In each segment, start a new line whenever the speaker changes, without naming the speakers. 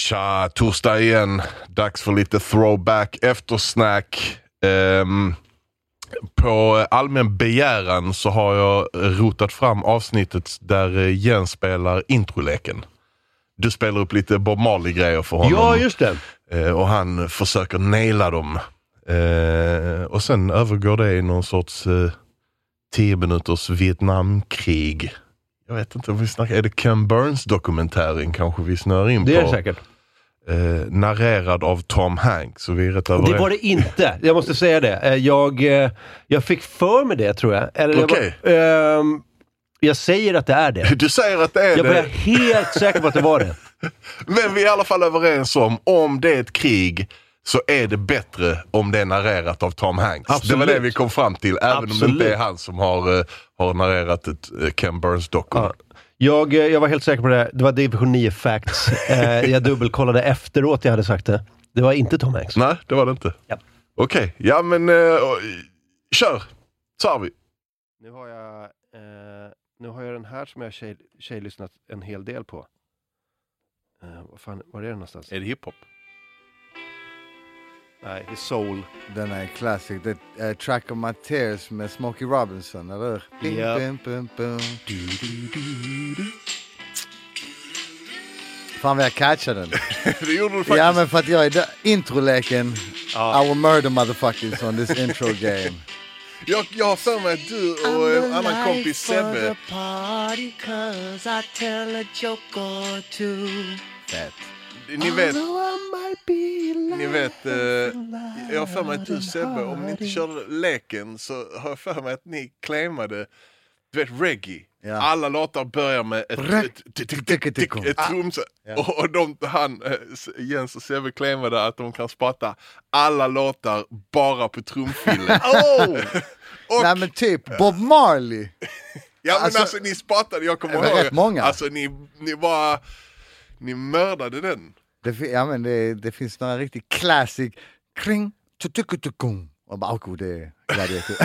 Tja, torsdag igen. Dags för lite throwback eftersnack. Ehm, på allmän begäran så har jag rotat fram avsnittet där eh, Jens spelar introleken. Du spelar upp lite Bob Marley-grejer för honom
Ja, just det.
Eh, och han försöker naila dem. Eh, och sen övergår det i någon sorts eh, 10 minuters Vietnamkrig. Jag vet inte om vi snackar, är det Ken Burns-dokumentären kanske vi snör in
Det
på?
är det säkert.
eh, narrerad av Tom Hanks. Så vi är rätt överens.
Det var det inte. Jag måste säga det. Eh, Jag, eh, jag fick för mig det, tror jag. Eller jag,
Okej.
var- ehm, jag säger att det är det.
Du säger att det är
Jag var
det,
helt säker på att det var det.
men vi är i alla fall överens om om det är ett krig så är det bättre om det är narrerat av Tom Hanks. Det var
Absolut.
det vi kom fram till, även om det inte är
Absolut.
han som har, eh, har narrerat ett eh, Ken Burns-doku.
Ja. Jag, eh, jag var helt säker på det. Det var division 9 facts. Eh, Jag dubbelkollade efteråt jag hade sagt det. Det var inte Tom Hanks.
Nej, det var det inte.
Ja.
Okej, ja men eh, och- kör! Tar vi.
Nu har jag, eh, nu har jag den här som jag har tjej, tjejlyssnat en hel del på. Eh, vad fan, var är den någonstans?
Är det hiphop?
Nej, det är soul.
Den är classic. Det är Track of My Tears med Smokey Robinson, eller hur? Bing,
Ja.
bing, bing, bing. Fan vad jag catchade den.
det gjorde du faktiskt.
ja men för att jag är där. Introleken.
Ja.
I will murder motherfuckers on this intro game.
Jag, jag har för mig att du och en annan kompis Sebbe
Fett.
Ni vet, ni vet eh, jag har för mig att du Sebbe, om ni inte körde leken så har jag för mig att ni claimade du vet reggae.
Ja.
Alla låtar börjar med ett,
Bra-
ett, ett, ett, ett, ett, ett
Ah.
trumset. Och, och de, han, eh, S- Jens och Sebbe claimade att de kan spotta alla låtar bara på trumfillen. Och,
Oh! Nej men typ Bob Marley.
ja, men alltså,
alltså-
ni spottade, jag kommer
Det var
ihåg.
rätt många.
Alltså ni, ni bara, ni mördade den.
Det, fi- ja, men det, det finns några riktigt classic. Kring, tutukutukum. Och bara, oh, det är gladiator.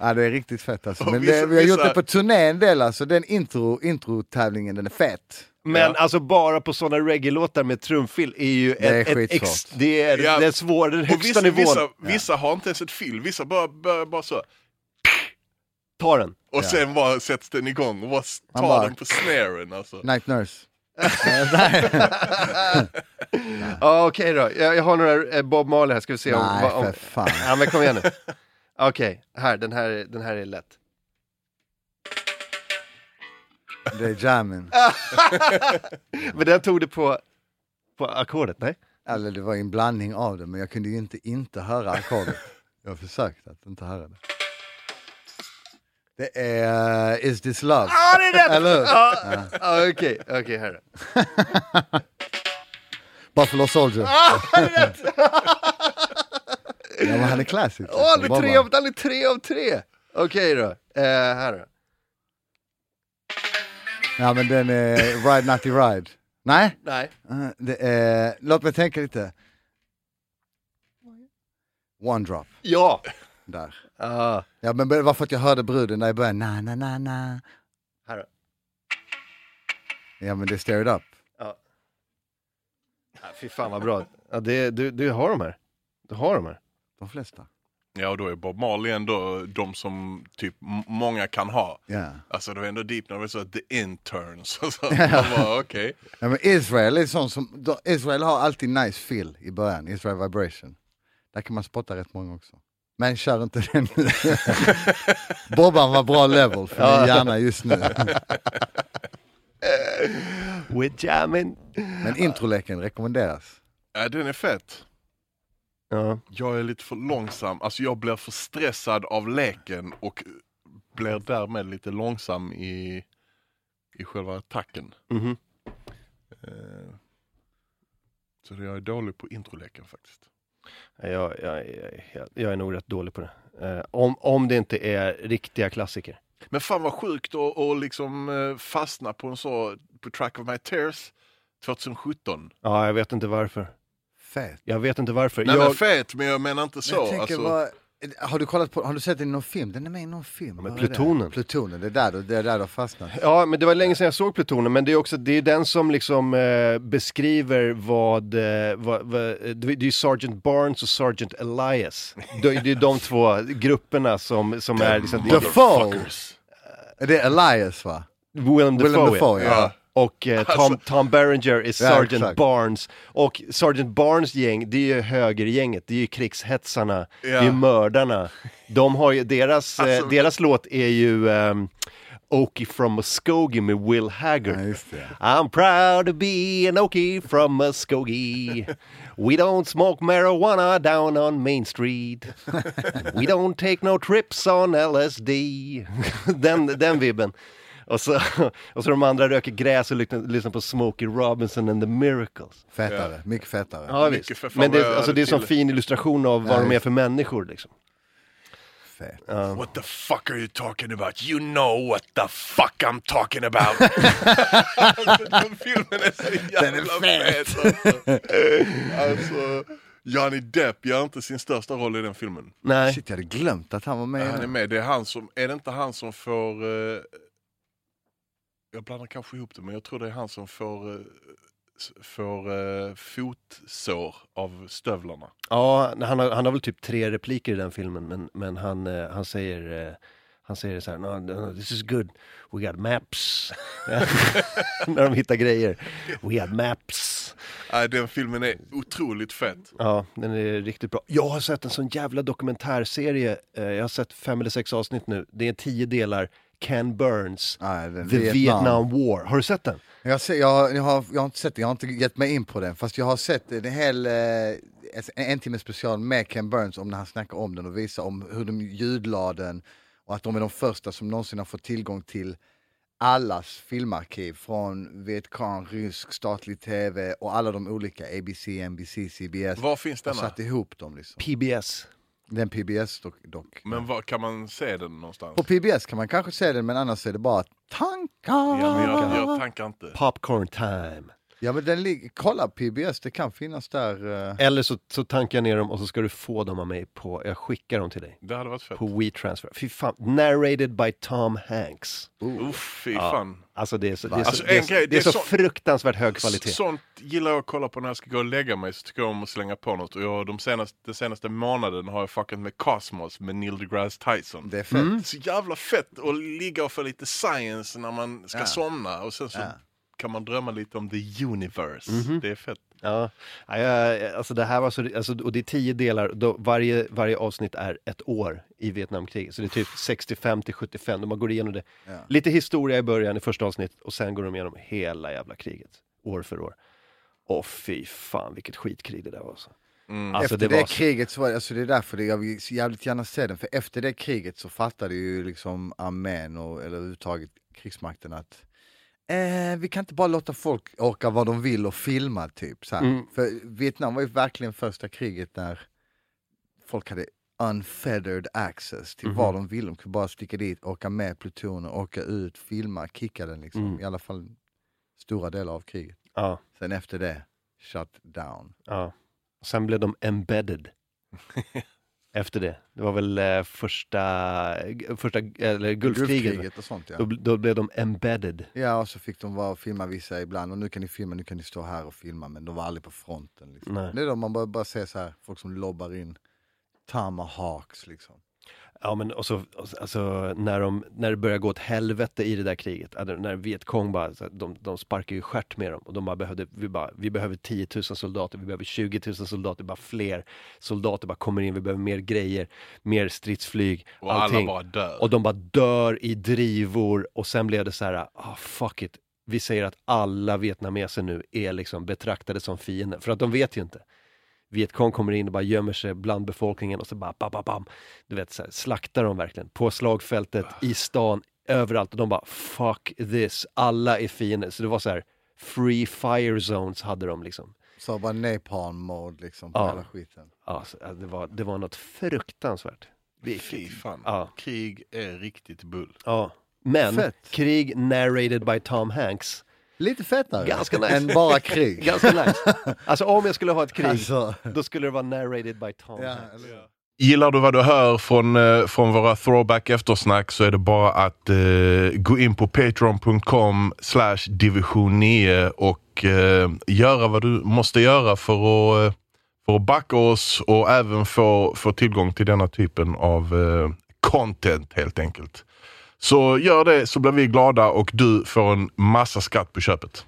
ja, det är riktigt fett alltså.
Och
Men
vissa-
det, vi har gjort
vissa-
det på turné en del alltså. Den intro, introtävlingen, den är fett.
Men
Ja.
alltså bara på sådana reggae-låtar med trumfill är ju
Det är
ett, ett
skitsvårt.
ex, det är
Ja.
den svåra, den
Och
högsta
vissa,
nivån.
vissa, vissa har inte ens ett fill, vissa bara, bara, bara så.
Ta den.
Och sen bara sätts den igång och bara s-
Man
tar
bara-
den på snaren alltså.
Night Nurse.
Ja, okej då. Jag, jag har några eh, Bob Marley här, ska vi se om...
Nej,
vad- om
för fan.
Ja, men kom igen nu. Okej, här, den här, är- den här är lätt.
Det är jammen.
Men den tog du på, på ackordet, nej?
Eller Alltså, det var en blandning av det, men jag kunde ju inte inte höra ackordet. Jag försökte att inte höra det. Det är eh, Is This Love.
Ja, det är rätt!
Eller hur?
Ja, ja, okej, okej, här då.
Buffalo Soldier.
Ah,
ja, men han är classic.
Åh, han
liksom.
är
Bara-
tre av, han är tre, av tre. Okej då, eh, här då.
Ja, men den är Ride Nutty Ride. Nej,
Nej.
eh, det är... låt mig tänka lite. One drop,
Ja!
där.
Ah,
Ja, men det var för att jag hörde bruden där i början. Na, na, na, na.
här då.
Ja, men det är Stare It Up.
Ja. Ah, fy fan vad bra. Ja, det, du, du har dem här. Du har dem här.
De flesta.
Ja, och då är Bob Marley ändå de som typ m- många kan ha.
Ja.
Alltså det var ändå deep när det var så the interns. Och så, man bara, okej.
ja men Israel är sån som... de- Israel har alltid nice feel i början. Israel Vibration. Där kan man spotta rätt många också. Men kör inte den nu. Bobban var bra level för min hjärna just nu.
With jamming.
Men introleken rekommenderas.
Ja, den är fett.
Ja.
Jag är lite för långsam. Alltså jag blir för stressad av leken och blir därmed lite långsam i, i själva attacken.
Mhm.
Eh, Så jag är dålig på introleken faktiskt.
Jag, jag, jag, jag, jag är nog rätt dålig på det. Eh, om, om det inte är riktiga klassiker.
Men fan vad sjukt att och liksom eh, fastna på en så, på Track of My Tears 2017.
Ja, jag vet inte varför.
Fett.
Jag vet inte varför.
Nej
jag,
men fet, men jag menar inte så.
jag tänker
alltså,
vad, Har du, kollat på, har du sett den i någon film? Den är med i någon film.
Ja, men
Vad är det?
Plutonen.
Plutonen, det är där du, det är där du har fastnat.
Ja, men det var länge sedan jag såg Plutonen, men det är också det är den som liksom eh, beskriver vad, eh, vad, vad det det är ju Sergeant Barnes och Sergeant Elias. Det, är- det är de två grupperna som, som är liksom, det är
Motherfuckers.
Det är Elias va?
Willem
Willem
Dafoe.
Dafoe, ja.
Ja.
Och eh, Tom,
Alltså-
Tom Berenger är Sergeant
exakt.
Barnes. Och Sergeant Barnes gäng, det är ju högergänget, det är ju krigshetsarna, det är ju mördarna. De har ju, deras, eh,
Alltså-
deras låt är ju ehm, Okie from Muskogee med Will Haggard.
Ja, just det.
I'm proud to be an Okie from Muskogee. We don't smoke marijuana down on Main Street. We don't take no trips on LSD. Den, den vibben. Och så, och så de andra röker gräs och lyssnar, lyssnar på Smokey Robinson and the Miracles.
Fettare, mycket fettare.
Ja,
Mycket
visst.
för fan
Men
vad jag
det, alltså,
hade
det är en
till.
fin illustration av vad de är för människor. Liksom.
Fett.
What the fuck are you talking about? You know what the fuck I'm talking about. Den filmen är så jävla fet. alltså. alltså, Johnny Depp gör inte sin största roll i den filmen.
Nej.
Shit, jag hade glömt att han var med. i
Han är
den.
med. Det är, han som, är det inte han som får... eh, jag blandar kanske ihop det, men jag tror det är han som får, eh, s- får eh, fotsår av stövlarna.
Ja, han har, han har väl typ tre repliker i den filmen, men, men han, eh, han säger eh, han säger så här, no, no, this is good, we got maps. När de hittar grejer. We got maps.
Nej, den filmen är otroligt fet.
Ja, den är riktigt bra. Jag har sett en sån jävla dokumentärserie, eh, jag har sett fem eller sex avsnitt nu. Det är tio delar, Ken Burns,
Nej, den,
The Vietnam. War. Har du sett den?
Jag, ser, jag, jag, har, jag har inte sett det, jag har inte gett mig in på den. Fast jag har sett en hel eh, en, en timme special med Ken Burns om när han snackar om den och visar om hur de ljudlade den och att de är de första som någonsin har fått tillgång till allas filmarkiv från Vietcong, rysk, statlig tv och alla de olika ABC, NBC, CBS.
Var finns
och
denna?
satt ihop dem liksom.
PBS.
Den PBS dock. dock.
Men var kan man se den någonstans?
På PBS kan man kanske se den men annars är det bara tankar.
Ja, men jag, jag tankar inte.
Popcorn time.
Ja men den ligger, kolla PBS, det kan finnas där. eh.
Eller så, så tankar jag ner dem och så ska du få dem av mig på, jag skickar dem till dig.
Det hade varit fett.
på WeTransfer. Fy fan, narrated by Tom Hanks.
Uff, fy fan.
Alltså det är så, det är så,
Alltså,
det är
en
så,
grej,
det är så
sån-
fruktansvärt hög kvalitet.
Sånt gillar jag att kolla på när jag ska gå och lägga mig. Så tycker jag om att slänga på något. Och jag, de senaste, den senaste månaden har jag fuckat med Cosmos med Neil deGrasse Tyson.
Det är fett.
Mm.
Så jävla fett att ligga och få lite science när man ska
Ja.
somna. Och sen så
Ja.
kan man drömma lite om the universe. Det är fett.
Ja, Ja, jag- alltså det här var så, alltså, och det är tio delar, då varje, varje avsnitt är ett år i Vietnamkriget. Så det är typ 65 till 75, de går igenom det.
Ja.
Lite historia i början i första avsnittet och sen går de igenom hela jävla kriget, år för år. Åh fy fan vilket skitkrig det där var. Alltså. Alltså,
efter det,
var så-
kriget så var det, alltså det är därför det, jag vill så jävligt gärna se den, för efter det kriget så fattade ju liksom armén och, eller överhuvudtaget krigsmakten att eh, vi kan inte bara låta folk åka vad de vill och filma typ. Så här.
Mm.
För Vietnam var ju verkligen första kriget där folk hade unfeathered access
Mhm.
till vad de ville. De kunde bara sticka dit, åka med plutoner, åka ut, filma, kicka den liksom.
Mm.
I alla fall stora delar av kriget.
Ja,
Sen efter det, shut down.
ja. Sen blev de embedded. Efter det. Det var väl eh, första, eh, första eller Gulfkriget. va?
och sånt ja.
Då, då blev de embedded.
Ja, och så fick de vara och filma vissa ibland. Och nu kan ni filma, nu kan ni stå här och filma. Men de var aldrig på fronten. Liksom.
Nej.
Det är då man bara, bara ser så här, folk som lobbar in tomahawks liksom.
Ja, men och så, och så- alltså, när, de, när det började gå åt helvete i det där kriget, alltså, när Vietkong bara, så här, de, de sparkade ju stjärt med dem och de bara behövde, vi, bara, vi behöver 10 000 soldater, vi behöver 20 000 soldater, bara fler soldater bara kommer in, vi behöver mer grejer, mer stridsflyg,
Och alla bara dör.
Och de bara dör i drivor och sen blev det så här, ah fuck it. Vi säger att alla vietnameser nu är liksom betraktade som fiender, för att de vet ju inte. Vietkong kommer in och bara gömmer sig bland befolkningen och så bara bam, bam, bam. Du vet, så här, slaktar de verkligen på slagfältet, i stan, överallt. Och de bara fuck this, alla är fiender. Så det var så här, free fire zones hade de liksom.
Så bara napalm mode liksom på
Ja.
hela skiten.
Ja, så, ja, det, var, det var något fruktansvärt.
Fy fan.
Ja.
Krig är riktigt bull.
Ja. Men
Fett.
krig narrated by Tom Hanks.
Lite fettare
Ganska nice.
än bara krig.
Ganska nice. Alltså om jag skulle ha ett krig,
Alltså,
då skulle det vara narrated by Tom
ja,
Hanks.
eller-
Gillar du vad du hör från, eh, från våra throwback eftersnack så är det bara att eh, gå in på patreon.com slash division 9 och eh, göra vad du måste göra för att, eh, för att backa oss och även få, få tillgång till denna typen av eh, content helt enkelt. Så gör det så blir vi glada och du får en massa skatt på köpet.